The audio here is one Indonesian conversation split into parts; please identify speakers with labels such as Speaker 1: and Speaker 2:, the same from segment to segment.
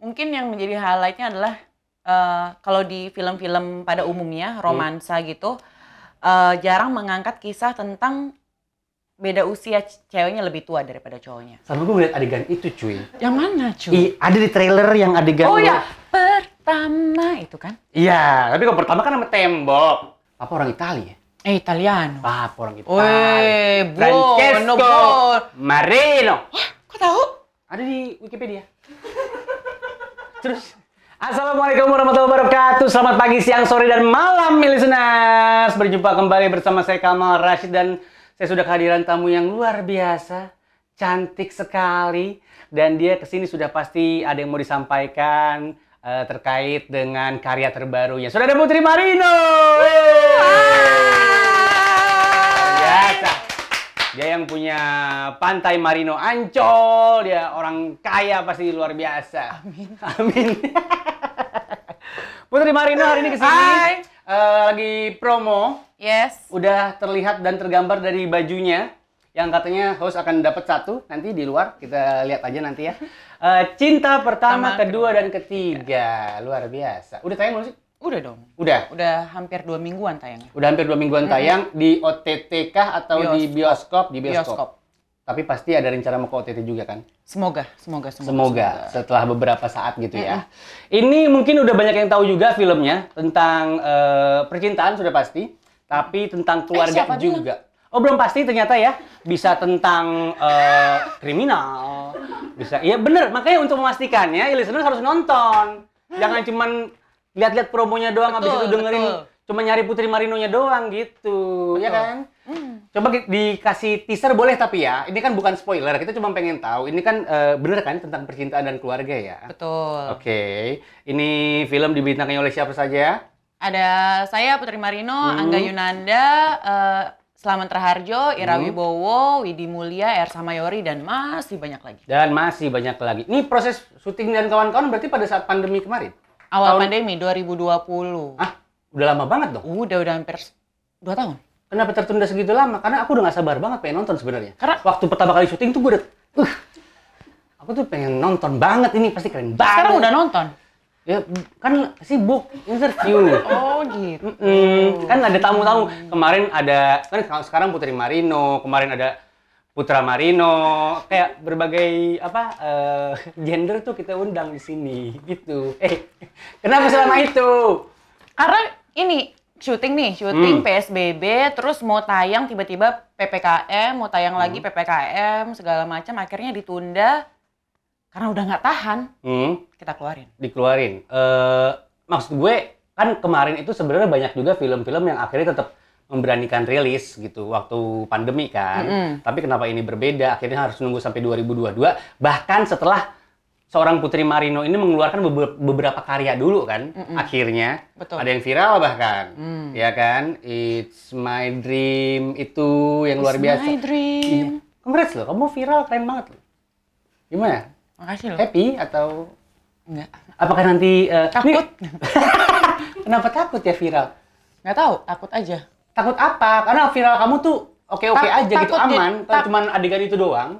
Speaker 1: mungkin yang menjadi highlightnya adalah eh, kalau di film-film pada umumnya romansa gitu eh, jarang mengangkat kisah tentang beda usia c- ceweknya lebih tua daripada cowoknya.
Speaker 2: Sampai gue ngeliat adegan itu cuy.
Speaker 1: Yang mana cuy?
Speaker 2: I, ada di trailer yang adegan
Speaker 1: Oh
Speaker 2: lu-
Speaker 1: ya pertama itu kan?
Speaker 2: Iya, tapi kalau pertama kan sama tembok. Apa orang Italia? ya?
Speaker 1: Eh Italiano.
Speaker 2: Papa orang Italia.
Speaker 1: Woi,
Speaker 2: Francesco
Speaker 1: buono, buono.
Speaker 2: Marino.
Speaker 1: Wah, kok tahu?
Speaker 2: Ada di Wikipedia. Terus Assalamualaikum warahmatullahi wabarakatuh. Selamat pagi, siang, sore, dan malam, listeners. Berjumpa kembali bersama saya Kamal Rashid dan saya sudah kehadiran tamu yang luar biasa, cantik sekali, dan dia kesini sudah pasti ada yang mau disampaikan eh, terkait dengan karya terbarunya. Sudah ada Putri Marino. Luar Biasa. Dia yang punya pantai Marino Ancol, dia orang kaya pasti luar biasa. Amin. Amin. Putri Marino hari ini kesini
Speaker 1: Hai.
Speaker 2: eh, lagi promo,
Speaker 1: Yes.
Speaker 2: udah terlihat dan tergambar dari bajunya yang katanya host akan dapat satu nanti di luar kita lihat aja nanti ya. Eh, cinta
Speaker 1: Pertama,
Speaker 2: pertama, kedua dan ketiga luar biasa. Udah tayang belum sih?
Speaker 1: Udah dong.
Speaker 2: Udah.
Speaker 1: Udah hampir dua mingguan tayangnya.
Speaker 2: Udah hampir dua mingguan tayang di OTT kah atau di bioskop? Di bioskop.
Speaker 1: Bioskop.
Speaker 2: Tapi pasti ada rencana mau ke OTT juga kan?
Speaker 1: Semoga, semoga, semoga.
Speaker 2: Semoga setelah beberapa saat gitu ya. Ini mungkin udah banyak yang tahu juga filmnya tentang eh, percintaan sudah pasti, tapi tentang keluarga
Speaker 1: siapa bilang?
Speaker 2: juga. Oh belum pasti ternyata ya bisa tentang eh, kriminal, bisa. Iya bener. Makanya untuk memastikannya, ya listener harus nonton. Jangan cuman lihat-lihat promonya doang, habis
Speaker 1: Betul,
Speaker 2: itu dengerin,
Speaker 1: betul.
Speaker 2: cuma nyari Putri Marinonya doang gitu, ya
Speaker 1: Betul.
Speaker 2: kan? Coba ki- dikasih teaser boleh tapi ya. Ini kan bukan spoiler, kita cuma pengen tahu. Ini kan eh, bener kan tentang percintaan dan keluarga ya.
Speaker 1: Betul.
Speaker 2: Oke. Ini film dibintangi oleh siapa saja? ya?
Speaker 1: Ada saya Putri Marino,
Speaker 2: Hmm.
Speaker 1: Angga Yunanda, eh, Slamet Raharjo, Ira
Speaker 2: Hmm.
Speaker 1: Wibowo, Widi Mulia, Ersa Mayori dan masih banyak lagi.
Speaker 2: Dan masih banyak lagi. Ini proses syuting dan kawan-kawan berarti pada saat pandemi kemarin.
Speaker 1: Awal
Speaker 2: Tahun-
Speaker 1: pandemi 2020.
Speaker 2: Ah, udah lama banget dong.
Speaker 1: Uh, Udah udah hampir 2 tahun.
Speaker 2: Kenapa tertunda segitu lama? Karena aku udah gak sabar banget pengen nonton sebenarnya.
Speaker 1: Karena-
Speaker 2: waktu pertama kali syuting tuh gue udah, "Uh, aku tuh pengen nonton banget ini pasti keren banget.
Speaker 1: Sekarang udah nonton.
Speaker 2: ya kan sibuk interview.
Speaker 1: Oh gitu.
Speaker 2: Mm-mm. Kan ada tamu-tamu. Kemarin ada kan kalau sekarang Putri Marino, kemarin ada Putra Marino, kayak berbagai apa eh, gender tuh kita undang di sini gitu. Eh, kenapa selama itu?
Speaker 1: Karena ini syuting nih, syuting
Speaker 2: Hmm.
Speaker 1: PSBB, terus mau tayang tiba-tiba PPKM, mau tayang lagi
Speaker 2: Hmm.
Speaker 1: PPKM, segala macam, akhirnya ditunda karena udah nggak tahan,
Speaker 2: Hmm,
Speaker 1: kita keluarin.
Speaker 2: dikeluarin. Eh, maksud gue kan kemarin itu sebenarnya banyak juga film-film yang akhirnya tetap memberanikan rilis gitu waktu pandemi kan.
Speaker 1: Mm-mm.
Speaker 2: Tapi kenapa ini berbeda? Akhirnya harus nunggu sampai 2022. Bahkan setelah seorang Putri Marino ini mengeluarkan beber- beberapa karya dulu kan, akhirnya
Speaker 1: Betul.
Speaker 2: ada yang viral bahkan,
Speaker 1: Hmm.
Speaker 2: ya kan? It's my dream itu yang luar
Speaker 1: It's
Speaker 2: biasa.
Speaker 1: My dream.
Speaker 2: Iya. Congrats loh, kamu viral keren banget loh. Gimana?
Speaker 1: Makasih loh.
Speaker 2: Happy atau
Speaker 1: Enggak.
Speaker 2: apakah nanti eh,
Speaker 1: Takut.
Speaker 2: nih- kenapa takut ya viral?
Speaker 1: Nggak tahu, takut aja.
Speaker 2: Takut apa? Karena viral kamu tuh oke-oke
Speaker 1: Tak-
Speaker 2: aja gitu,
Speaker 1: takut di-
Speaker 2: aman. Kalau
Speaker 1: tak-
Speaker 2: cuman adegan itu doang,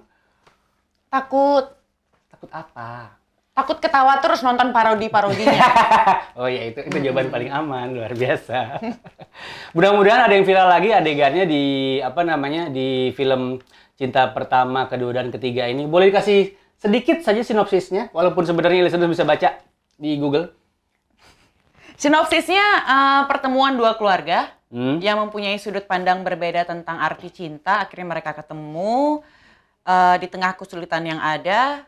Speaker 1: Takut.
Speaker 2: takut apa?
Speaker 1: Takut ketawa terus nonton parodi-parodinya.
Speaker 2: oh ya
Speaker 1: Hmm.
Speaker 2: itu itu jawaban paling aman luar biasa. Mudah-mudahan ada yang viral lagi adegannya di apa namanya di film cinta pertama, kedua dan ketiga ini. Boleh dikasih sedikit saja sinopsisnya walaupun sebenarnya listener bisa baca di Google.
Speaker 1: Sinopsisnya eh, pertemuan dua keluarga
Speaker 2: Hmm.
Speaker 1: yang mempunyai sudut pandang berbeda tentang arti cinta, akhirnya mereka ketemu Eh, di tengah kesulitan yang ada.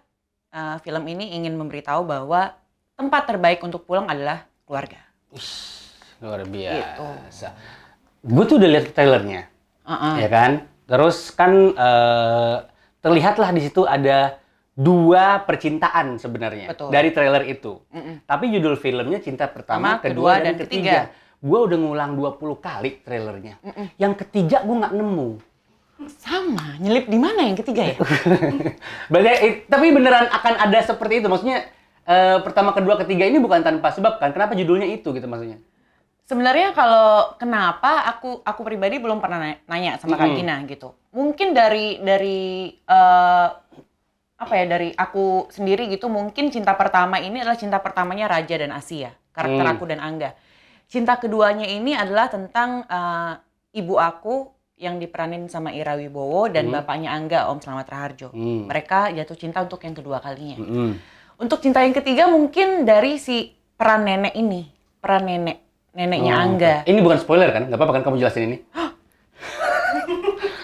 Speaker 1: eh, film ini ingin memberitahu bahwa tempat terbaik untuk pulang adalah keluarga. Iya.
Speaker 2: Luar
Speaker 1: Gitu.
Speaker 2: biasa. Gue tuh udah lihat trailernya.
Speaker 1: Heeh.
Speaker 2: ya kan terus kan eh, terlihatlah di situ ada dua percintaan sebenarnya
Speaker 1: Betul.
Speaker 2: dari trailer itu
Speaker 1: Mm-mm.
Speaker 2: tapi judul filmnya cinta pertama
Speaker 1: Pertama,
Speaker 2: kedua,
Speaker 1: kedua,
Speaker 2: dan,
Speaker 1: dan
Speaker 2: ketiga, gue udah ngulang 20 kali trailernya yang ketiga gue nggak nemu
Speaker 1: Sama, nyelip di mana yang ketiga ya?
Speaker 2: Berarti, eh, tapi beneran akan ada seperti itu maksudnya eh, pertama kedua ketiga ini bukan tanpa sebab kan kenapa judulnya itu gitu maksudnya
Speaker 1: Sebenarnya kalau kenapa aku aku pribadi belum pernah na- nanya sama Kak
Speaker 2: Mm-mm.
Speaker 1: Gina gitu. Mungkin dari dari eh, apa ya dari aku sendiri gitu mungkin cinta pertama ini adalah cinta pertamanya Raja dan Asia karakter
Speaker 2: Hmm.
Speaker 1: aku dan Angga cinta keduanya ini adalah tentang eh, ibu aku yang diperanin sama Ira Wibowo dan
Speaker 2: Hmm.
Speaker 1: bapaknya Angga Om Slamet Raharjo
Speaker 2: Hmm.
Speaker 1: mereka jatuh cinta untuk yang kedua kalinya
Speaker 2: Mm-mm.
Speaker 1: untuk cinta yang ketiga mungkin dari si peran nenek ini peran nenek neneknya
Speaker 2: Oh,
Speaker 1: Angga
Speaker 2: oke. Ini bukan spoiler kan? Gak apa-apa kan kamu jelasin ini?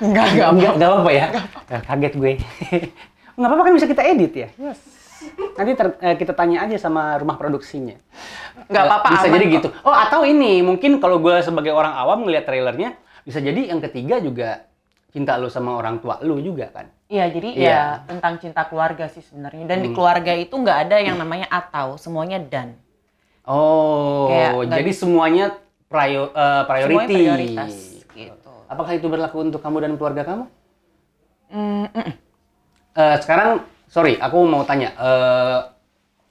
Speaker 1: enggak enggak
Speaker 2: Nggak- nggak apa-apa ya? Eh, Kaget gue. Gak apa-apa kan bisa kita edit ya? Yes. Nanti ter- eh, kita tanya aja sama rumah produksinya.
Speaker 1: Nggak
Speaker 2: Eh,
Speaker 1: apa-apa,
Speaker 2: Bisa
Speaker 1: aman
Speaker 2: jadi
Speaker 1: kok.
Speaker 2: gitu. Oh atau ini mungkin kalau gue sebagai orang awam ngelihat trailernya bisa jadi yang ketiga juga cinta lu sama orang tua lu juga kan?
Speaker 1: Iya, jadi
Speaker 2: Iya.
Speaker 1: ya tentang cinta keluarga sih sebenarnya. Dan di
Speaker 2: Hmm.
Speaker 1: keluarga itu nggak ada yang namanya atau, semuanya dan.
Speaker 2: Oh,
Speaker 1: Kayak nggak-
Speaker 2: jadi semuanya prior, eh, priority.
Speaker 1: Semuanya prioritas gitu.
Speaker 2: Apakah itu berlaku untuk kamu dan keluarga kamu?
Speaker 1: Mm, mm, mm.
Speaker 2: Eh, sekarang, sorry, aku mau tanya. eh,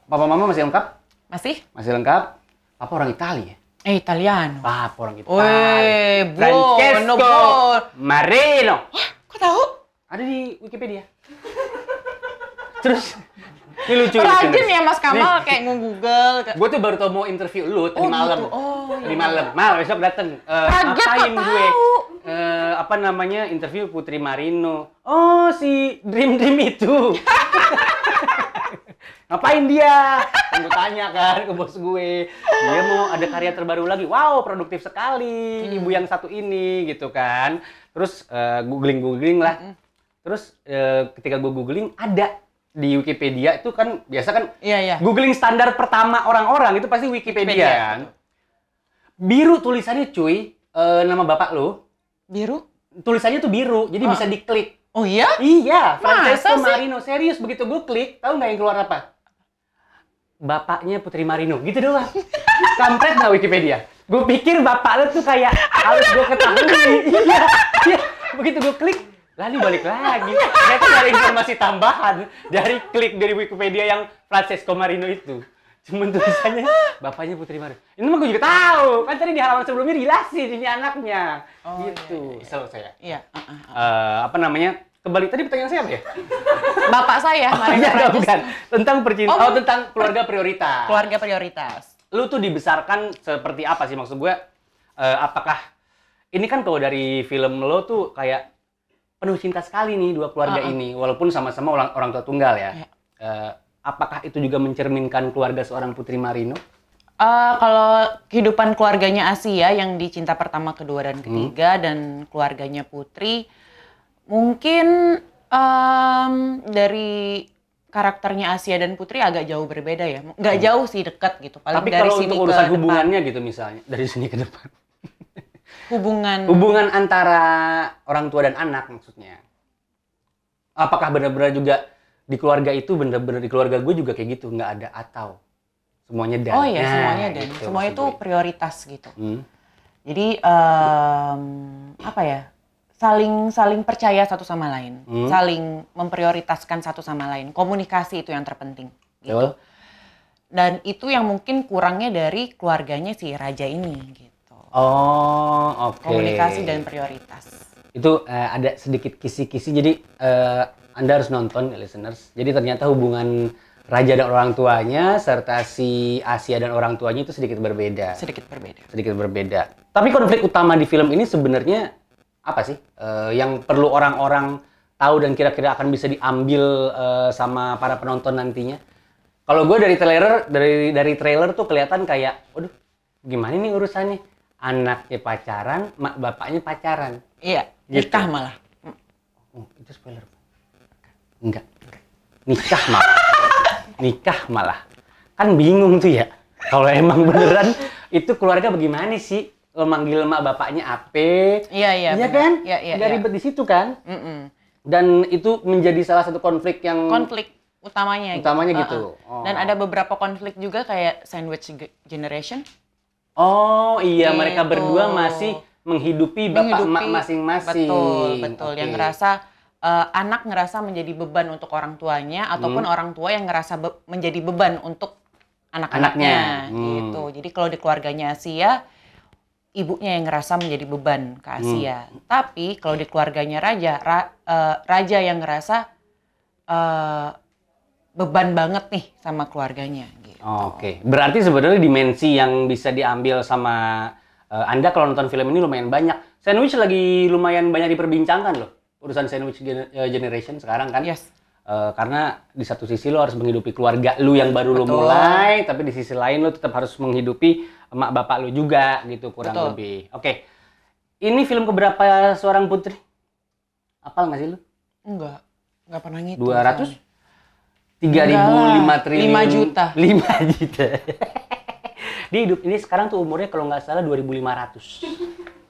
Speaker 2: papa mama masih lengkap?
Speaker 1: Masih?
Speaker 2: Masih lengkap? Papa orang Italia ya?
Speaker 1: Eh, Italiano.
Speaker 2: Papa orang Italia.
Speaker 1: Weh, buono,
Speaker 2: Francesco
Speaker 1: buono.
Speaker 2: Marino.
Speaker 1: Kok tahu?
Speaker 2: Ada di Wikipedia. Terus, ini lucu.
Speaker 1: Rajin ya Mas Kamal kayak nge-google. kayak-
Speaker 2: Gue tuh baru tau mau interview lu tadi
Speaker 1: Oh,
Speaker 2: malam.
Speaker 1: gitu. Oh, iya.
Speaker 2: Tadi malam. Mal besok dateng. Eh,
Speaker 1: Kaget,
Speaker 2: ngapain
Speaker 1: kok
Speaker 2: gue?
Speaker 1: tahu?
Speaker 2: Eh, apa namanya interview Putri Marino? Oh si Dream Dream itu. ngapain dia? Kan Gue tanya kan ke bos gue. Dia mau ada karya terbaru lagi. Wow produktif sekali
Speaker 1: Hmm.
Speaker 2: ibu yang satu ini gitu kan. Terus googling googling lah.
Speaker 1: Hmm.
Speaker 2: Terus eh, ketika gue googling ada di Wikipedia itu kan biasa kan
Speaker 1: Iya, iya.
Speaker 2: Googling standar pertama orang-orang itu pasti Wikipedia,
Speaker 1: Wikipedia,
Speaker 2: kan. Biru tulisannya cuy, Eh, nama bapak lu,
Speaker 1: Biru?
Speaker 2: tulisannya tuh biru, jadi bisa diklik.
Speaker 1: Oh iya? Masa
Speaker 2: Iya, Francesco
Speaker 1: sih?
Speaker 2: Marino serius begitu gue klik, tahu nggak yang keluar apa? Bapaknya Putri Marino, gitu doang. Kampret nggak Wikipedia? Gue pikir bapak lu tuh kayak harus gue ketahui. iya, iya. Begitu gue klik, lalu balik lagi. Ternyata ada informasi tambahan dari klik dari Wikipedia yang Francesco Marino itu. Cuman tulisannya bapaknya Putri Marino. Ini mah gue juga tahu. Kan tadi di halaman sebelumnya dijelasin ini anaknya.
Speaker 1: Oh, iya,
Speaker 2: gitu. Kesel saya
Speaker 1: Iya. ah, ah.
Speaker 2: eh apa namanya kembali tadi pertanyaan siapa ya?
Speaker 1: Bapak saya,
Speaker 2: Oh,
Speaker 1: Mariana
Speaker 2: iya, enggak,
Speaker 1: Francis,
Speaker 2: bukan tentang percintaan.
Speaker 1: Oh,
Speaker 2: Oh, tentang keluarga prioritas.
Speaker 1: keluarga prioritas.
Speaker 2: Lu tuh dibesarkan seperti apa sih maksud gue? eh, apakah ini kan kalau dari film lo tuh kayak penuh cinta sekali nih dua keluarga
Speaker 1: Uh-uh.
Speaker 2: ini walaupun sama-sama orang orang tua tunggal ya.
Speaker 1: Iya.
Speaker 2: Eh, apakah itu juga mencerminkan keluarga seorang Putri Marino?
Speaker 1: Eh, kalau kehidupan keluarganya Asia yang dicinta pertama, kedua
Speaker 2: Hmm.
Speaker 1: dan ketiga dan keluarganya Putri mungkin em, dari karakternya Asia dan Putri agak jauh berbeda ya. Nggak jauh sih dekat gitu. Paling
Speaker 2: Hmm. Tapi
Speaker 1: dari
Speaker 2: kalau
Speaker 1: sini
Speaker 2: untuk
Speaker 1: ke
Speaker 2: urusan
Speaker 1: depan.
Speaker 2: hubungannya gitu misalnya dari sini ke depan.
Speaker 1: hubungan
Speaker 2: hubungan antara orang tua dan anak maksudnya apakah benar-benar juga di keluarga itu benar-benar di keluarga gue juga kayak gitu nggak ada atau semuanya dan
Speaker 1: Oh iya,
Speaker 2: Nah,
Speaker 1: semuanya dan
Speaker 2: gitu
Speaker 1: semuanya
Speaker 2: maksud
Speaker 1: itu
Speaker 2: gue.
Speaker 1: prioritas gitu.
Speaker 2: Hmm.
Speaker 1: Jadi em, apa ya? Saling saling percaya satu sama lain,
Speaker 2: Hmm.
Speaker 1: saling memprioritaskan satu sama lain. Komunikasi itu yang terpenting. Gitu.
Speaker 2: Betul.
Speaker 1: dan itu yang mungkin kurangnya dari keluarganya si raja ini gitu
Speaker 2: oh oke
Speaker 1: komunikasi dan prioritas
Speaker 2: itu eh, ada sedikit kisi-kisi jadi eh, anda harus nonton listeners jadi ternyata hubungan raja dan orang tuanya serta si Asia dan orang tuanya itu sedikit berbeda
Speaker 1: sedikit berbeda
Speaker 2: sedikit berbeda. Tapi konflik utama di film ini sebenarnya apa sih? Eh, yang perlu orang-orang tahu dan kira-kira akan bisa diambil eh, sama para penonton nantinya. Kalau gue dari trailer dari dari trailer tuh kelihatan kayak, waduh, gimana nih urusannya? Anaknya pacaran, mak bapaknya pacaran.
Speaker 1: iya
Speaker 2: Gitu.
Speaker 1: nikah malah
Speaker 2: Oh, itu spoiler. Enggak. Nikah malah. Nikah malah. Kan bingung tuh ya. Kalau emang beneran itu keluarga bagaimana sih? Lo manggil mak bapaknya ape?
Speaker 1: iya iya
Speaker 2: iya
Speaker 1: benar.
Speaker 2: kan?
Speaker 1: iya iya,
Speaker 2: Nggak
Speaker 1: iya.
Speaker 2: ribet di situ kan?
Speaker 1: Mm-mm.
Speaker 2: Dan itu menjadi salah satu konflik yang
Speaker 1: konflik utamanya gitu.
Speaker 2: utamanya
Speaker 1: Uh-uh.
Speaker 2: gitu. Oh.
Speaker 1: dan ada beberapa konflik juga kayak sandwich ge- generation
Speaker 2: Oh, iya mereka
Speaker 1: Gitu.
Speaker 2: berdua masih menghidupi bapak
Speaker 1: Menghidupi-
Speaker 2: emak masing-masing.
Speaker 1: betul betul yang
Speaker 2: Oke.
Speaker 1: ngerasa eh, anak ngerasa menjadi beban untuk orang tuanya ataupun
Speaker 2: Hmm.
Speaker 1: orang tua yang ngerasa be- menjadi beban untuk anak-anaknya
Speaker 2: Anaknya. Hmm.
Speaker 1: gitu jadi kalau di keluarganya Asia ibunya yang ngerasa menjadi beban
Speaker 2: Hmm.
Speaker 1: ke Asia tapi kalau di keluarganya Raja ra- eh, Raja yang ngerasa eh, eh, beban banget nih sama keluarganya gitu.
Speaker 2: Oke, berarti sebenarnya dimensi yang bisa diambil sama eh, Anda kalau nonton film ini lumayan banyak. Sandwich lagi lumayan banyak diperbincangkan loh, urusan sandwich gen- eh, generation sekarang kan.
Speaker 1: Yes.
Speaker 2: Eh, karena di satu sisi lo harus menghidupi keluarga lu yang baru lo
Speaker 1: Betul.
Speaker 2: mulai, tapi di sisi lain lo tetap harus menghidupi emak bapak lo juga gitu kurang
Speaker 1: Betul.
Speaker 2: lebih. Oke, ini film keberapa seorang putri? Apal nggak sih lo?
Speaker 1: Enggak. Enggak pernah ngitung.
Speaker 2: 200?
Speaker 1: saya.
Speaker 2: 3.005
Speaker 1: Enggak,
Speaker 2: triliun.
Speaker 1: 5 juta.
Speaker 2: 5 juta. Dia hidup ini sekarang tuh umurnya kalau nggak salah 2500.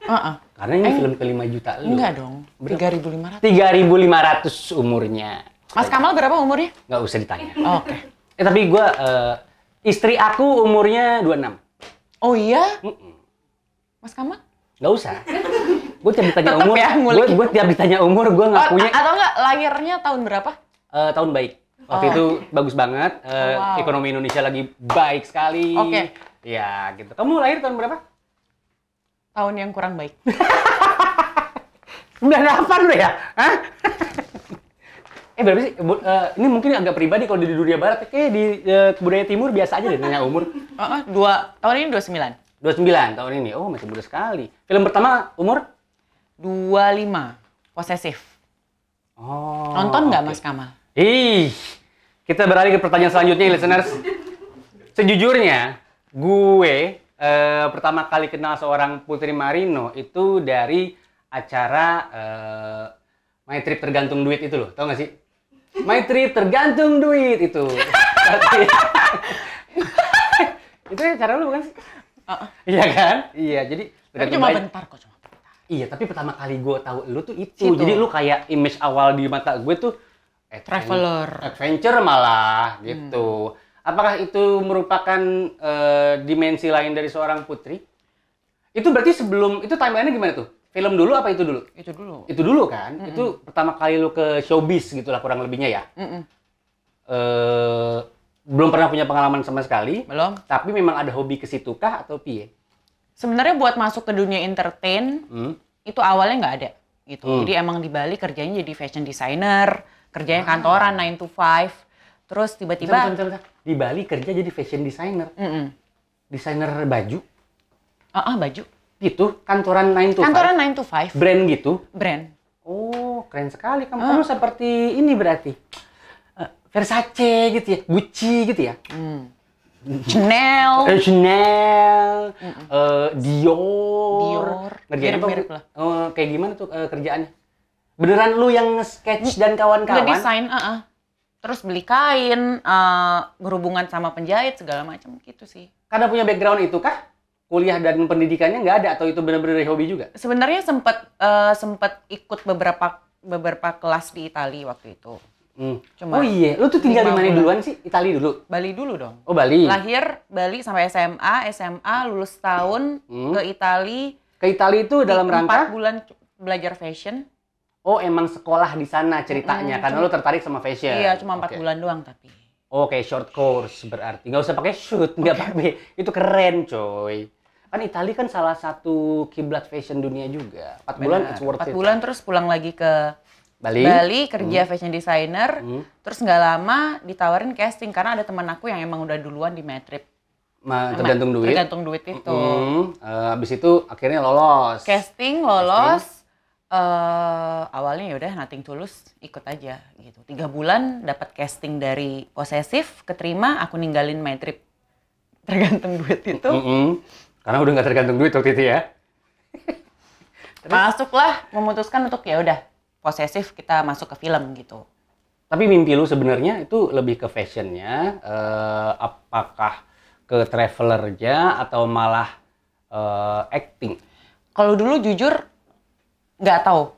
Speaker 1: Ah, ah.
Speaker 2: Karena ini film ke 5 juta lu.
Speaker 1: Enggak dong. 3500.
Speaker 2: 3500 umurnya.
Speaker 1: Mas Kamal berapa umurnya?
Speaker 2: Nggak usah ditanya.
Speaker 1: Oke.
Speaker 2: Eh tapi gua eh, istri aku umurnya 26.
Speaker 1: Oh iya?
Speaker 2: Mm-mm.
Speaker 1: Mas Kamal?
Speaker 2: Nggak usah. Gue tiap ditanya
Speaker 1: Tetep
Speaker 2: umur,
Speaker 1: ya, ngulik.
Speaker 2: gue tiap ditanya umur, gue nggak
Speaker 1: Oh,
Speaker 2: punya
Speaker 1: a- atau enggak lahirnya tahun berapa?
Speaker 2: eh, tahun baik. Waktu
Speaker 1: Oh.
Speaker 2: itu bagus banget, eh,
Speaker 1: Wow.
Speaker 2: ekonomi Indonesia lagi baik sekali.
Speaker 1: Oke.
Speaker 2: Ya gitu. Kamu lahir tahun berapa?
Speaker 1: Tahun yang kurang baik.
Speaker 2: 98 udah ya? Hah? eh berapa sih? Bu- eh, ini mungkin agak pribadi kalau di dunia barat, kayak di eh, budaya timur biasa aja deh nanya umur.
Speaker 1: Ah, ah, dua, tahun ini 29.
Speaker 2: 29 tahun ini, oh masih muda sekali. Film pertama umur?
Speaker 1: 25. Posesif.
Speaker 2: Oh,
Speaker 1: Nonton nggak
Speaker 2: oke.
Speaker 1: Mas Kamal?
Speaker 2: Ih, kita beralih ke pertanyaan selanjutnya, listeners. Sejujurnya, gue eh, pertama kali kenal seorang Putri Marino itu dari acara eh, My Trip Tergantung Duit itu loh, tau gak sih? My Trip Tergantung Duit itu. itu acara lu bukan sih?
Speaker 1: Ah, ah.
Speaker 2: Iya kan? Iya, jadi
Speaker 1: Tapi
Speaker 2: tergantung
Speaker 1: cuma
Speaker 2: budget.
Speaker 1: bentar kok cuma. bentar.
Speaker 2: Iya, tapi pertama kali gue tahu lu tuh itu.
Speaker 1: Situ.
Speaker 2: Jadi lu kayak image awal di mata gue tuh adven-
Speaker 1: Traveler. Hmm.
Speaker 2: adventure malah gitu. Apakah itu merupakan eh, dimensi lain dari seorang putri? Itu berarti sebelum itu timelinenya gimana tuh? Film dulu apa itu dulu?
Speaker 1: Itu dulu.
Speaker 2: Itu dulu kan?
Speaker 1: Hmm.
Speaker 2: Itu pertama kali lu ke showbiz gitulah kurang lebihnya ya.
Speaker 1: Mm-mm.
Speaker 2: Eh belum pernah punya pengalaman sama sekali.
Speaker 1: Belum.
Speaker 2: Tapi memang ada hobi ke situ kah atau piye?
Speaker 1: Sebenarnya buat masuk ke dunia entertain
Speaker 2: Hmm?
Speaker 1: itu awalnya nggak ada gitu.
Speaker 2: Hmm.
Speaker 1: Jadi emang di Bali kerjanya jadi fashion designer,
Speaker 2: Ah.
Speaker 1: kerjanya kantoran 9 to 5. Terus
Speaker 2: Bentar,
Speaker 1: tiba-tiba
Speaker 2: bentar, bentar. Di Bali kerja jadi fashion designer.
Speaker 1: Mm-mm.
Speaker 2: desainer baju
Speaker 1: Ah, ah, baju.
Speaker 2: gitu kantoran 9 to
Speaker 1: Kantoran 9 to 5,
Speaker 2: 5, brand gitu
Speaker 1: brand.
Speaker 2: oh keren sekali kamu kamu seperti ini berarti Eh, Versace gitu ya Gucci gitu ya
Speaker 1: Hmm. Chanel.
Speaker 2: Eh, Chanel eh,
Speaker 1: Dior.
Speaker 2: Dior Ngerjain apa?
Speaker 1: Mirip-mirip lah.
Speaker 2: Eh, kayak gimana tuh eh, kerjaannya beneran lu yang sketch dan kawan-kawan
Speaker 1: Ngedesain, ah, ah. Terus beli kain, eh, berhubungan sama penjahit segala macam gitu sih.
Speaker 2: karena punya background itu kah kuliah dan pendidikannya nggak ada atau itu bener-bener dari hobi juga
Speaker 1: Sebenarnya sempat eh, sempat ikut beberapa beberapa kelas di Italia waktu itu.
Speaker 2: Hmm.
Speaker 1: Cuma
Speaker 2: oh iya lu tuh tinggal di
Speaker 1: lima
Speaker 2: mana
Speaker 1: bulan.
Speaker 2: duluan sih Itali dulu
Speaker 1: Bali dulu dong.
Speaker 2: oh Bali
Speaker 1: Lahir Bali sampai SMA, SMA lulus tahun
Speaker 2: Hmm.
Speaker 1: ke Itali
Speaker 2: ke Itali itu dalam rangka
Speaker 1: empat bulan c- belajar fashion.
Speaker 2: Oh, emang sekolah di sana
Speaker 1: Mm-mm,
Speaker 2: ceritanya karena lo tertarik sama fashion.
Speaker 1: Hmm, Iya, cuma empat
Speaker 2: Oke.
Speaker 1: bulan doang tapi.
Speaker 2: Oke, short course berarti. Nggak usah pakai shoot, nggak apa-apa. Itu keren, coy. Kan Italia kan salah satu kiblat fashion dunia juga. Empat bulan
Speaker 1: Benar.
Speaker 2: it's worth
Speaker 1: Iya. Empat
Speaker 2: it.
Speaker 1: bulan terus pulang lagi ke
Speaker 2: Bali.
Speaker 1: Bali kerja fashion designer.
Speaker 2: Hmm.
Speaker 1: Terus nggak lama ditawarin casting karena ada teman aku yang emang udah duluan di Metrip.
Speaker 2: Ma- tergantung duit.
Speaker 1: Tergantung duit itu.
Speaker 2: Hmm, eh, abis itu akhirnya lolos.
Speaker 1: Casting lolos. eh, awalnya yaudah nothing tulus ikut aja gitu. Tiga bulan dapat casting dari posesif, keterima aku ninggalin Metrip. Tergantung duit itu.
Speaker 2: Mm-mm. Karena udah nggak tergantung duit waktu itu ya.
Speaker 1: Masuklah memutuskan untuk ya udah posesif kita masuk ke film gitu.
Speaker 2: Tapi mimpi lu sebenarnya itu lebih ke fashionnya, eh, apakah ke travelernya atau malah eh, acting?
Speaker 1: Kalau dulu jujur nggak tahu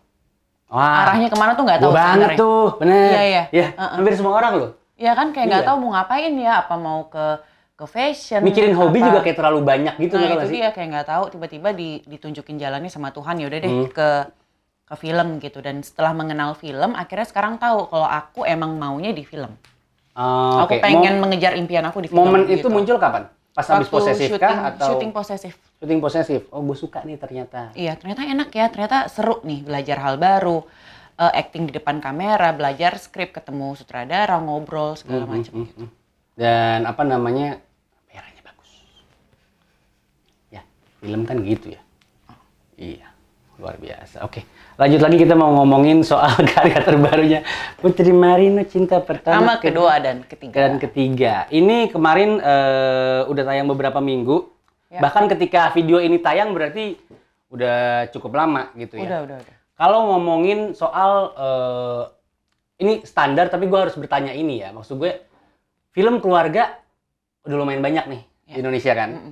Speaker 2: Wah,
Speaker 1: arahnya kemana tuh nggak
Speaker 2: Ah. gua
Speaker 1: tahu
Speaker 2: banget
Speaker 1: sebenarnya.
Speaker 2: tuh, bener.
Speaker 1: Iya, iya. Uh-uh.
Speaker 2: hampir semua orang loh.
Speaker 1: Ya kan kayak nggak
Speaker 2: Iya.
Speaker 1: tahu mau ngapain ya, apa mau ke ke fashion.
Speaker 2: Mikirin hobi
Speaker 1: apa-
Speaker 2: juga kayak terlalu banyak gitu
Speaker 1: nah,
Speaker 2: nggak
Speaker 1: itu
Speaker 2: sih?
Speaker 1: dia kayak nggak tahu tiba-tiba di- ditunjukin jalannya sama Tuhan ya udah deh
Speaker 2: Hmm.
Speaker 1: ke ke film gitu dan setelah mengenal film akhirnya sekarang tahu kalau aku emang maunya di film.
Speaker 2: Ah,
Speaker 1: Aku
Speaker 2: oke.
Speaker 1: pengen
Speaker 2: Mom-
Speaker 1: mengejar impian aku di film.
Speaker 2: momen itu
Speaker 1: gitu.
Speaker 2: muncul kapan? Pas habis
Speaker 1: Waktu
Speaker 2: posesif
Speaker 1: syuting-
Speaker 2: kah atau
Speaker 1: syuting posesif.
Speaker 2: syuting posesif? Oh, gue suka nih ternyata.
Speaker 1: Iya, ternyata enak ya, ternyata seru nih belajar hal baru. eh, acting di depan kamera, belajar skrip, ketemu sutradara, ngobrol segala
Speaker 2: Mm,
Speaker 1: macam.
Speaker 2: mm, mm. Dan apa namanya merahnya bagus. Ya, film kan gitu ya. Iya, luar biasa. Oke, lanjut lagi kita mau ngomongin soal karya terbarunya Putri Marino Cinta Pertama
Speaker 1: Sama kedua dan ketiga.
Speaker 2: dan ketiga. Ini kemarin eh, udah tayang beberapa minggu.
Speaker 1: Ya.
Speaker 2: Bahkan ketika video ini tayang berarti udah cukup lama gitu ya.
Speaker 1: Udah, udah, udah.
Speaker 2: Kalau ngomongin soal eh, ini standar, tapi gue harus bertanya ini ya. Maksud gue, film keluarga udah lumayan banyak nih di
Speaker 1: Ya.
Speaker 2: Indonesia kan.
Speaker 1: Mm-mm.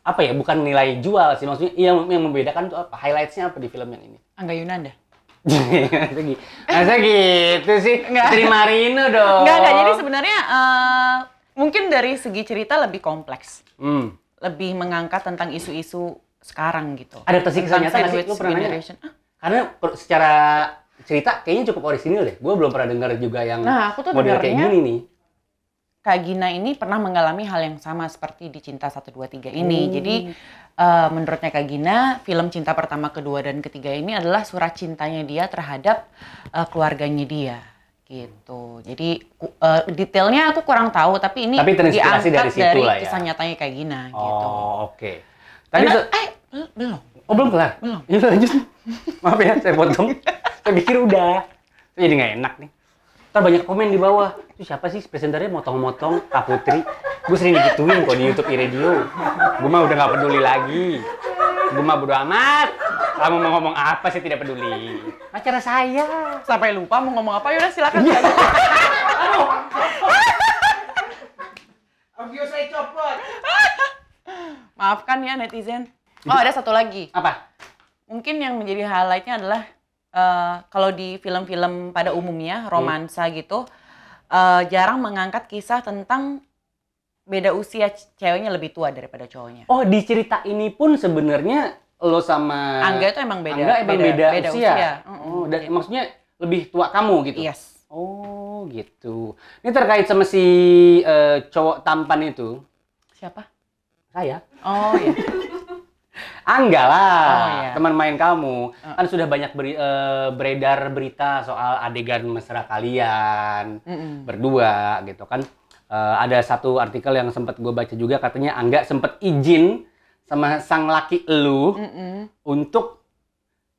Speaker 2: Apa ya? Bukan nilai jual sih. Maksudnya yang yang membedakan tuh apa? Highlightsnya apa di film yang ini?
Speaker 1: Angga Yunanda.
Speaker 2: Masa gi- Masa gitu sih?
Speaker 1: Nggak.
Speaker 2: Putri Marino dong.
Speaker 1: Enggak, enggak. Jadi sebenarnya eh, mungkin dari segi cerita lebih kompleks.
Speaker 2: Hmm.
Speaker 1: Lebih mengangkat tentang isu-isu sekarang gitu.
Speaker 2: Adaptasi kisah
Speaker 1: Tentang
Speaker 2: nyata nggak sih?
Speaker 1: sandwich
Speaker 2: Lu pernah nanya?
Speaker 1: generation. Ah,
Speaker 2: Karena per- secara cerita kayaknya cukup orisinil deh. Gue belum pernah dengar juga yang
Speaker 1: Nah, aku tuh
Speaker 2: model kayak
Speaker 1: dengarnya-
Speaker 2: gini nih.
Speaker 1: Kak Gina ini pernah mengalami hal yang sama seperti di Cinta 123 ini.
Speaker 2: Hmm.
Speaker 1: Jadi eh, menurutnya Kak Gina, film Cinta pertama, kedua, dan ketiga ini adalah surat cintanya dia terhadap eh, keluarganya dia gitu. Jadi ku- eh, detailnya aku kurang tahu tapi ini
Speaker 2: Tapi terinspirasi dari
Speaker 1: diangkat
Speaker 2: situ
Speaker 1: dari
Speaker 2: lah ya.
Speaker 1: kisah nyatanya Kak Gina gitu.
Speaker 2: Oh, oke. Tadi
Speaker 1: Karena,
Speaker 2: tuh-
Speaker 1: eh bel- belum.
Speaker 2: Oh belum kelar?
Speaker 1: Belum.
Speaker 2: Ya udah lanjut. Maaf ya, saya potong. saya pikir udah. Saya jadi nggak enak nih. Ntar banyak komen di bawah. Itu siapa sih presenternya motong-motong Kak Putri? Gue sering digituin kok di Youtube iRadio. Gue mah udah nggak peduli lagi. Gue mah bodo amat. Kamu mau ngomong apa sih tidak peduli. Acara saya.
Speaker 1: Sampai lupa mau ngomong apa yaudah silakan.
Speaker 3: Audio saya copot.
Speaker 1: Maafkan ya netizen. Oh ada satu lagi.
Speaker 2: Apa?
Speaker 1: mungkin yang menjadi highlightnya adalah eh, kalau di film-film pada
Speaker 2: Hmm.
Speaker 1: umumnya romansa gitu eh, jarang mengangkat kisah tentang beda usia c- ceweknya lebih tua daripada cowoknya.
Speaker 2: Oh di cerita ini pun sebenarnya lo sama
Speaker 1: Angga itu emang beda,
Speaker 2: Eh, Angga emang beda, usia.
Speaker 1: Mm-mm.
Speaker 2: Oh, dan maksudnya lebih tua kamu gitu.
Speaker 1: yes.
Speaker 2: Oh gitu. Ini terkait sama si eh, cowok tampan itu.
Speaker 1: Siapa?
Speaker 2: Saya.
Speaker 1: Oh iya.
Speaker 2: Angga lah,
Speaker 1: Oh, iya.
Speaker 2: teman main kamu.
Speaker 1: Eh.
Speaker 2: Kan sudah banyak beri- eh, beredar berita soal adegan mesra kalian
Speaker 1: Mm-mm.
Speaker 2: berdua gitu kan. Eh, ada satu artikel yang sempat gue baca juga katanya Angga sempat izin sama sang laki elu
Speaker 1: Mm-mm.
Speaker 2: untuk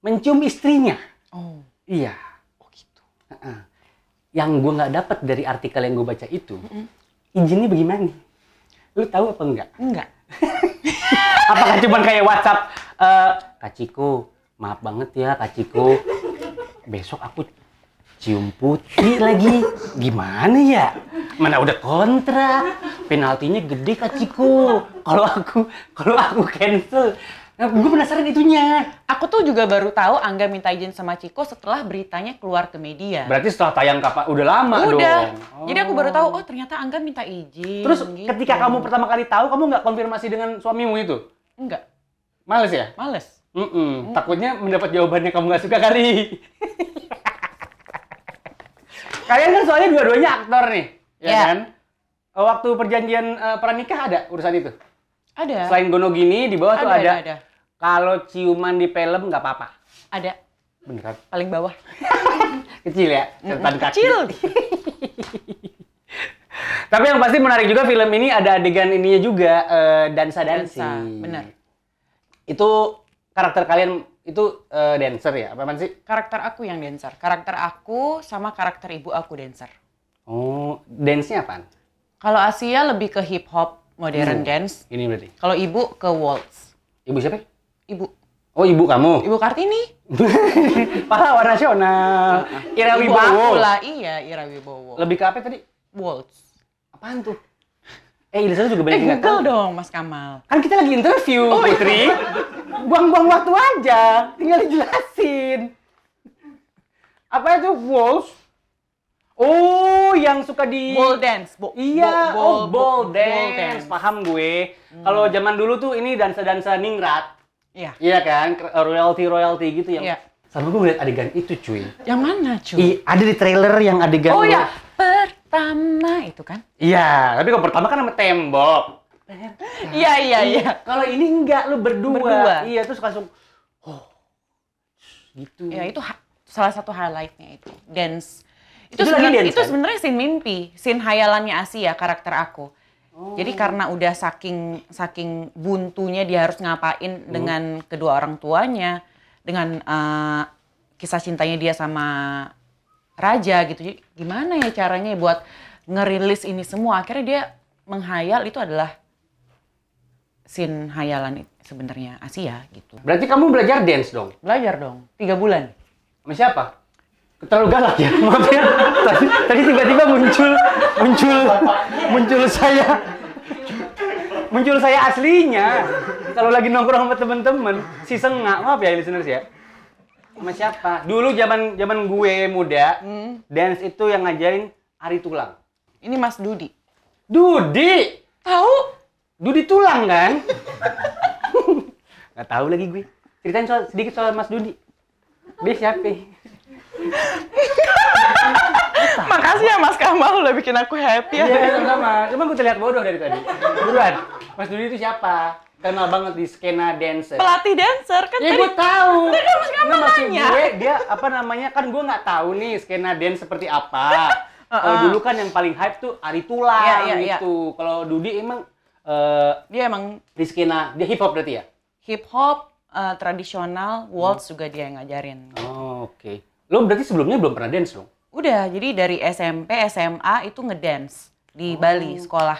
Speaker 2: mencium istrinya.
Speaker 1: Oh.
Speaker 2: Iya.
Speaker 1: oh gitu.
Speaker 2: Heeh. Yang gue nggak dapat dari artikel yang gue baca itu,
Speaker 1: Mm-mm.
Speaker 2: izinnya bagaimana? Lu tahu apa enggak?
Speaker 1: Enggak.
Speaker 2: Apakah cuma kayak WhatsApp? eh Kak Ciko, maaf banget ya Kak Ciko. Besok aku cium putih lagi. Gimana ya? Mana udah kontrak. Penaltinya gede Kak Ciko. Kalau aku kalau aku cancel. Nah, gue penasaran itunya.
Speaker 1: Aku tuh juga baru tahu Angga minta izin sama Ciko setelah beritanya keluar ke media.
Speaker 2: Berarti setelah tayang kapan? Udah lama
Speaker 1: Udah.
Speaker 2: dong.
Speaker 1: Jadi aku baru tahu oh ternyata Angga minta izin.
Speaker 2: Terus
Speaker 1: gitu.
Speaker 2: ketika kamu pertama kali tahu, kamu nggak konfirmasi dengan suamimu itu?
Speaker 1: enggak,
Speaker 2: Males ya? Hmm.
Speaker 1: males.
Speaker 2: Mm-mm. Takutnya mendapat jawabannya kamu nggak suka kali. Kalian kan soalnya dua-duanya aktor nih, ya
Speaker 1: Iya.
Speaker 2: kan? Eh, Waktu perjanjian eh, pernikah ada urusan itu.
Speaker 1: Ada.
Speaker 2: Selain gono gini di bawah
Speaker 1: ada,
Speaker 2: tuh
Speaker 1: ada.
Speaker 2: Iya. ada.
Speaker 1: ada.
Speaker 2: Kalau ciuman di film nggak apa-apa.
Speaker 1: Ada.
Speaker 2: Beneran.
Speaker 1: paling bawah.
Speaker 2: Kecil ya, catatan kaki.
Speaker 1: Kecil.
Speaker 2: Tapi yang pasti menarik juga film ini ada adegan ininya juga eh, dansa dansi.
Speaker 1: Dansa, benar.
Speaker 2: Itu karakter kalian itu eh, dancer ya? Apa apaan sih?
Speaker 1: Karakter aku yang dancer. Karakter aku sama karakter ibu aku dancer.
Speaker 2: Oh, dance-nya apaan?
Speaker 1: Kalau Asia lebih ke hip hop, modern
Speaker 2: Hmm.
Speaker 1: dance.
Speaker 2: Ini berarti.
Speaker 1: Kalau ibu ke waltz.
Speaker 2: Ibu siapa? ya?
Speaker 1: Ibu,
Speaker 2: Oh, ibu kamu.
Speaker 1: ibu Kartini.
Speaker 2: Pahlawan nasional. Ira
Speaker 1: ibu aku
Speaker 2: Wibowo.
Speaker 1: lah, iya Ira Wibowo.
Speaker 2: Lebih ke apa tadi?
Speaker 1: waltz.
Speaker 2: Apaan tuh? Eh, Ilisa juga
Speaker 1: Eh
Speaker 2: banyak yang nggak
Speaker 1: Google
Speaker 2: tahu.
Speaker 1: dong Mas Kamal.
Speaker 2: Kan kita lagi interview,
Speaker 1: Oh, iya.
Speaker 2: Putri. Buang-buang waktu aja. Tinggal dijelasin. Apa itu Wolf? Oh, yang suka di
Speaker 1: Ball dance. bo-
Speaker 2: Iya,
Speaker 1: bo-
Speaker 2: oh,
Speaker 1: bo-
Speaker 2: ball
Speaker 1: bo-
Speaker 2: dance. Paham gue.
Speaker 1: Hmm.
Speaker 2: Kalau zaman dulu tuh ini dansa-dansa ningrat.
Speaker 1: Iya.
Speaker 2: Iya kan? Royalty-royalty gitu yang.
Speaker 1: Iya.
Speaker 2: Sama gue ngeliat adegan itu, cuy.
Speaker 1: Yang mana cuy?
Speaker 2: Ih, ada di trailer yang adegan
Speaker 1: Oh
Speaker 2: lu-
Speaker 1: ya, pertama itu kan?
Speaker 2: Iya, tapi kalau pertama kan sama tembok.
Speaker 1: Iya iya iya.
Speaker 2: Kalau ini enggak, lu berdua.
Speaker 1: Berdua.
Speaker 2: Iya, terus langsung oh. Gitu.
Speaker 1: Ya itu ha- salah satu highlightnya itu dance itu,
Speaker 2: Itu lagi
Speaker 1: sebenarnya
Speaker 2: dance,
Speaker 1: itu
Speaker 2: kan?
Speaker 1: sebenarnya scene mimpi scene hayalannya Asia ya, karakter aku
Speaker 2: Oh.
Speaker 1: jadi karena udah saking saking buntunya dia harus ngapain
Speaker 2: Hmm.
Speaker 1: dengan kedua orang tuanya dengan eh, kisah cintanya dia sama raja gitu jadi gimana ya caranya buat ngerilis ini semua akhirnya dia menghayal itu adalah scene hayalan it- sebenarnya Asia gitu
Speaker 2: Berarti kamu belajar dance dong?
Speaker 1: belajar dong tiga bulan
Speaker 2: Sama siapa? Terlalu galak ya, maksudnya tadi, tadi tiba-tiba muncul muncul muncul saya muncul saya aslinya. Kalau lagi nongkrong sama temen-temen, si sengak maaf ya listeners ya. Sama siapa? Dulu zaman zaman gue muda, dance itu yang ngajarin Ari Tulang.
Speaker 1: ini Mas Dudi
Speaker 2: Dudi,
Speaker 1: tahu
Speaker 2: Dudi Tulang kan? Gak tahu lagi gue. Ceritain soal, sedikit soal Mas Dudi. Dia siapa?
Speaker 1: makasih ya Mas Kamal udah bikin aku happy ya
Speaker 2: Iya, sama-sama. Cuma gue terlihat bodoh dari tadi. Buruan. Mas Dudi itu siapa? Kenal banget di skena dancer.
Speaker 1: pelatih dancer kan tadi
Speaker 2: Ya gue tahu.
Speaker 1: Tadi kan Mas Kamal
Speaker 2: Nggak, maksud
Speaker 1: nanya.
Speaker 2: gue dia apa namanya kan gue nggak tahu nih skena dance seperti apa. Kalau dulu kan yang paling hype tuh Ari Tulang
Speaker 1: Iya, iya, iya.
Speaker 2: gitu. Kalau Dudi emang eh,
Speaker 1: dia emang
Speaker 2: di skena dia hip hop berarti ya?
Speaker 1: hip hop eh, tradisional waltz juga dia yang ngajarin
Speaker 2: Oh, oke. Lo berarti sebelumnya belum pernah dance dong?
Speaker 1: udah jadi dari SMP SMA itu ngedance di Bali sekolah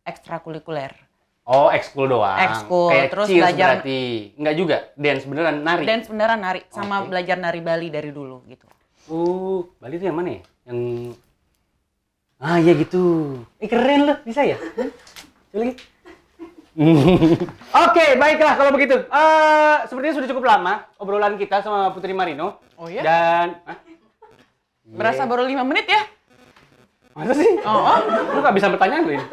Speaker 1: ekstrakurikuler
Speaker 2: Oh, ekskul doang.
Speaker 1: Ekskul,
Speaker 2: Kayak
Speaker 1: terus
Speaker 2: cheers
Speaker 1: belajar-
Speaker 2: berarti. Enggak juga, dance beneran nari.
Speaker 1: dance beneran nari sama
Speaker 2: Oke.
Speaker 1: belajar nari Bali dari dulu gitu
Speaker 2: Uh, Bali itu yang mana ya? Yang Ah iya gitu. Eh keren loh, bisa ya? Hmm? Coba lagi. Oke, baiklah kalau begitu. Eh, sepertinya sudah cukup lama obrolan kita sama Putri Marino.
Speaker 1: Oh, iya?
Speaker 2: Dan Hah?
Speaker 1: berasa baru lima menit ya
Speaker 2: Masa sih?
Speaker 1: Oh,
Speaker 2: Lu gak bisa bertanya lu ini.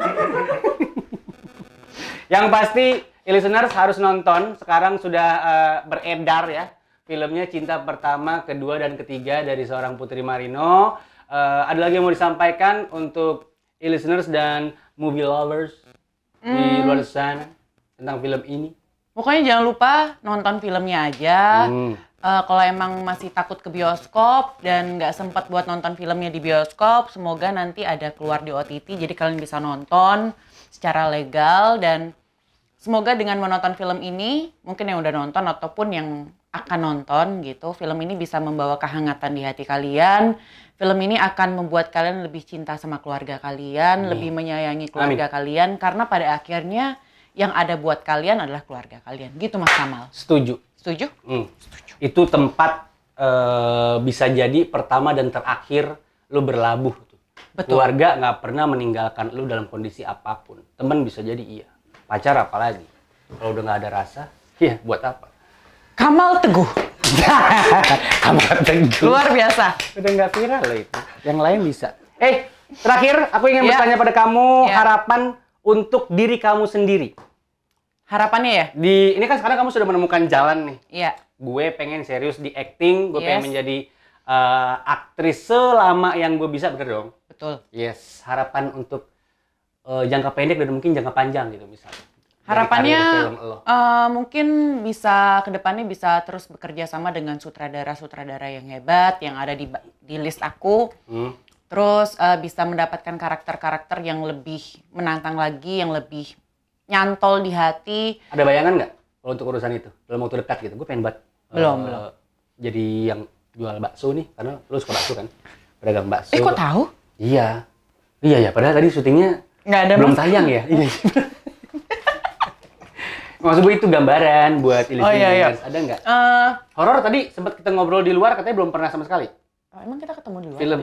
Speaker 2: Yang pasti, listeners harus nonton. Sekarang sudah eh, beredar ya. Filmnya Cinta Pertama, Kedua, dan Ketiga dari seorang Putri Marino. Eh, ada lagi yang mau disampaikan untuk listeners dan movie lovers di luar sana tentang film ini?
Speaker 1: pokoknya jangan lupa nonton filmnya aja
Speaker 2: Hmm.
Speaker 1: Eh, kalau emang masih takut ke bioskop dan nggak sempat buat nonton filmnya di bioskop, semoga nanti ada keluar di OTT, jadi kalian bisa nonton secara legal dan semoga dengan menonton film ini, mungkin yang udah nonton ataupun yang akan nonton gitu, film ini bisa membawa kehangatan di hati kalian. Film ini akan membuat kalian lebih cinta sama keluarga kalian, lebih menyayangi keluarga kalian, karena pada akhirnya yang ada buat kalian adalah keluarga kalian. Gitu Mas Kamal,
Speaker 2: Setuju.
Speaker 1: setuju?
Speaker 2: Hmm. Itu tempat eh, bisa jadi pertama dan terakhir lu berlabuh. tuh.
Speaker 1: Betul.
Speaker 2: Keluarga nggak pernah meninggalkan lu dalam kondisi apapun. Temen bisa jadi iya. Pacar apalagi. Kalau udah nggak ada rasa, ya buat apa?
Speaker 1: Kamal Teguh.
Speaker 2: Amat teguh.
Speaker 1: Luar biasa.
Speaker 2: Udah nggak viral loh itu. Yang lain bisa. Eh, terakhir aku ingin
Speaker 1: Ya.
Speaker 2: bertanya pada kamu
Speaker 1: Ya.
Speaker 2: harapan untuk diri kamu sendiri.
Speaker 1: Harapannya ya?
Speaker 2: Di ini kan sekarang kamu sudah menemukan jalan nih.
Speaker 1: Iya.
Speaker 2: gue pengen serius di acting, gue
Speaker 1: Yes.
Speaker 2: pengen menjadi eh, aktris selama yang gue bisa, bener dong?
Speaker 1: Betul.
Speaker 2: Yes, harapan untuk eh, jangka pendek dan mungkin jangka panjang gitu misalnya. Dari
Speaker 1: Harapannya
Speaker 2: karir film lo.
Speaker 1: eh, mungkin bisa kedepannya bisa terus bekerja sama dengan sutradara-sutradara yang hebat yang ada di ba- di list aku.
Speaker 2: Hmm.
Speaker 1: Terus eh, bisa mendapatkan karakter-karakter yang lebih menantang lagi, yang lebih nyantol di hati.
Speaker 2: Ada bayangan nggak kalau untuk urusan itu dalam waktu dekat gitu? Gue pengen buat eh,
Speaker 1: Belum, belum.
Speaker 2: Jadi yang jual bakso nih, karena lo suka bakso kan? Pedagang bakso.
Speaker 1: Eh kok tahu?
Speaker 2: Iya, iya ya. Padahal tadi syutingnya
Speaker 1: Nggak ada
Speaker 2: belum
Speaker 1: mas-
Speaker 2: tayang ya. Iya. Maksud gue itu gambaran buat
Speaker 1: Oh, iya, iya.
Speaker 2: listeners. ada nggak?
Speaker 1: Eh,
Speaker 2: Horor tadi sempat kita ngobrol di luar katanya belum pernah sama sekali
Speaker 1: Oh, emang kita ketemu di luar?
Speaker 2: film.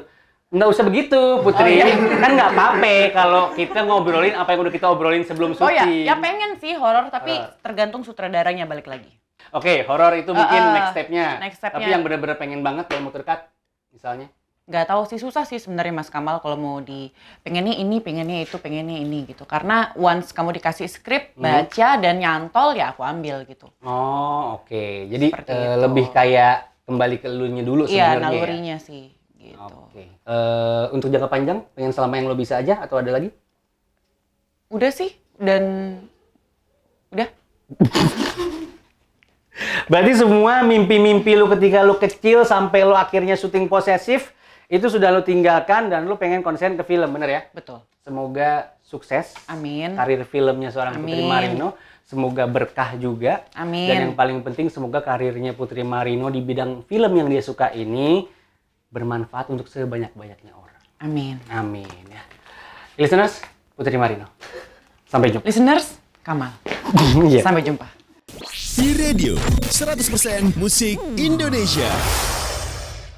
Speaker 2: Nggak usah begitu, Putri.
Speaker 1: Oh, iya.
Speaker 2: Kan nggak apa-apa kalau kita ngobrolin apa yang udah kita obrolin sebelum
Speaker 1: Oh ya,
Speaker 2: syuting. Eh.
Speaker 1: ya pengen sih horor tapi
Speaker 2: Horor.
Speaker 1: tergantung sutradaranya balik lagi.
Speaker 2: Oke, horor itu mungkin
Speaker 1: Eh, eh,
Speaker 2: next step-nya.
Speaker 1: next step-nya.
Speaker 2: Tapi yang bener-bener pengen banget dalam waktu dekat, misalnya.
Speaker 1: nggak tahu sih susah sih sebenarnya Mas Kamal kalau mau di pengennya ini pengennya itu pengennya ini gitu karena once kamu dikasih
Speaker 2: Hmm.
Speaker 1: skrip baca dan nyantol ya aku ambil gitu
Speaker 2: Oh, oke. Jadi
Speaker 1: Seperti
Speaker 2: eh,
Speaker 1: itu.
Speaker 2: lebih kayak kembali ke elunya dulu
Speaker 1: iya
Speaker 2: sebenarnya. ya?
Speaker 1: nalurinya sih gitu
Speaker 2: Oke. Eh, untuk jangka panjang, pengen selama yang lo bisa aja atau ada lagi?
Speaker 1: udah sih dan udah
Speaker 2: Berarti semua mimpi-mimpi lu ketika lu kecil sampai lu akhirnya syuting posesif itu sudah lu tinggalkan dan lu pengen konsen ke film, bener ya?
Speaker 1: Betul.
Speaker 2: Semoga sukses
Speaker 1: Amin.
Speaker 2: karir filmnya seorang Putri
Speaker 1: Amin.
Speaker 2: Marino, semoga berkah juga
Speaker 1: Amin.
Speaker 2: dan yang paling penting semoga karirnya Putri Marino di bidang film yang dia suka ini bermanfaat untuk sebanyak-banyaknya orang.
Speaker 1: Amin.
Speaker 2: Amin ya. Listeners, Putri Marino. Sampai jumpa.
Speaker 1: Listeners, Kamal.
Speaker 2: Iya.
Speaker 1: Sampai jumpa.
Speaker 3: Di radio 100% musik Indonesia.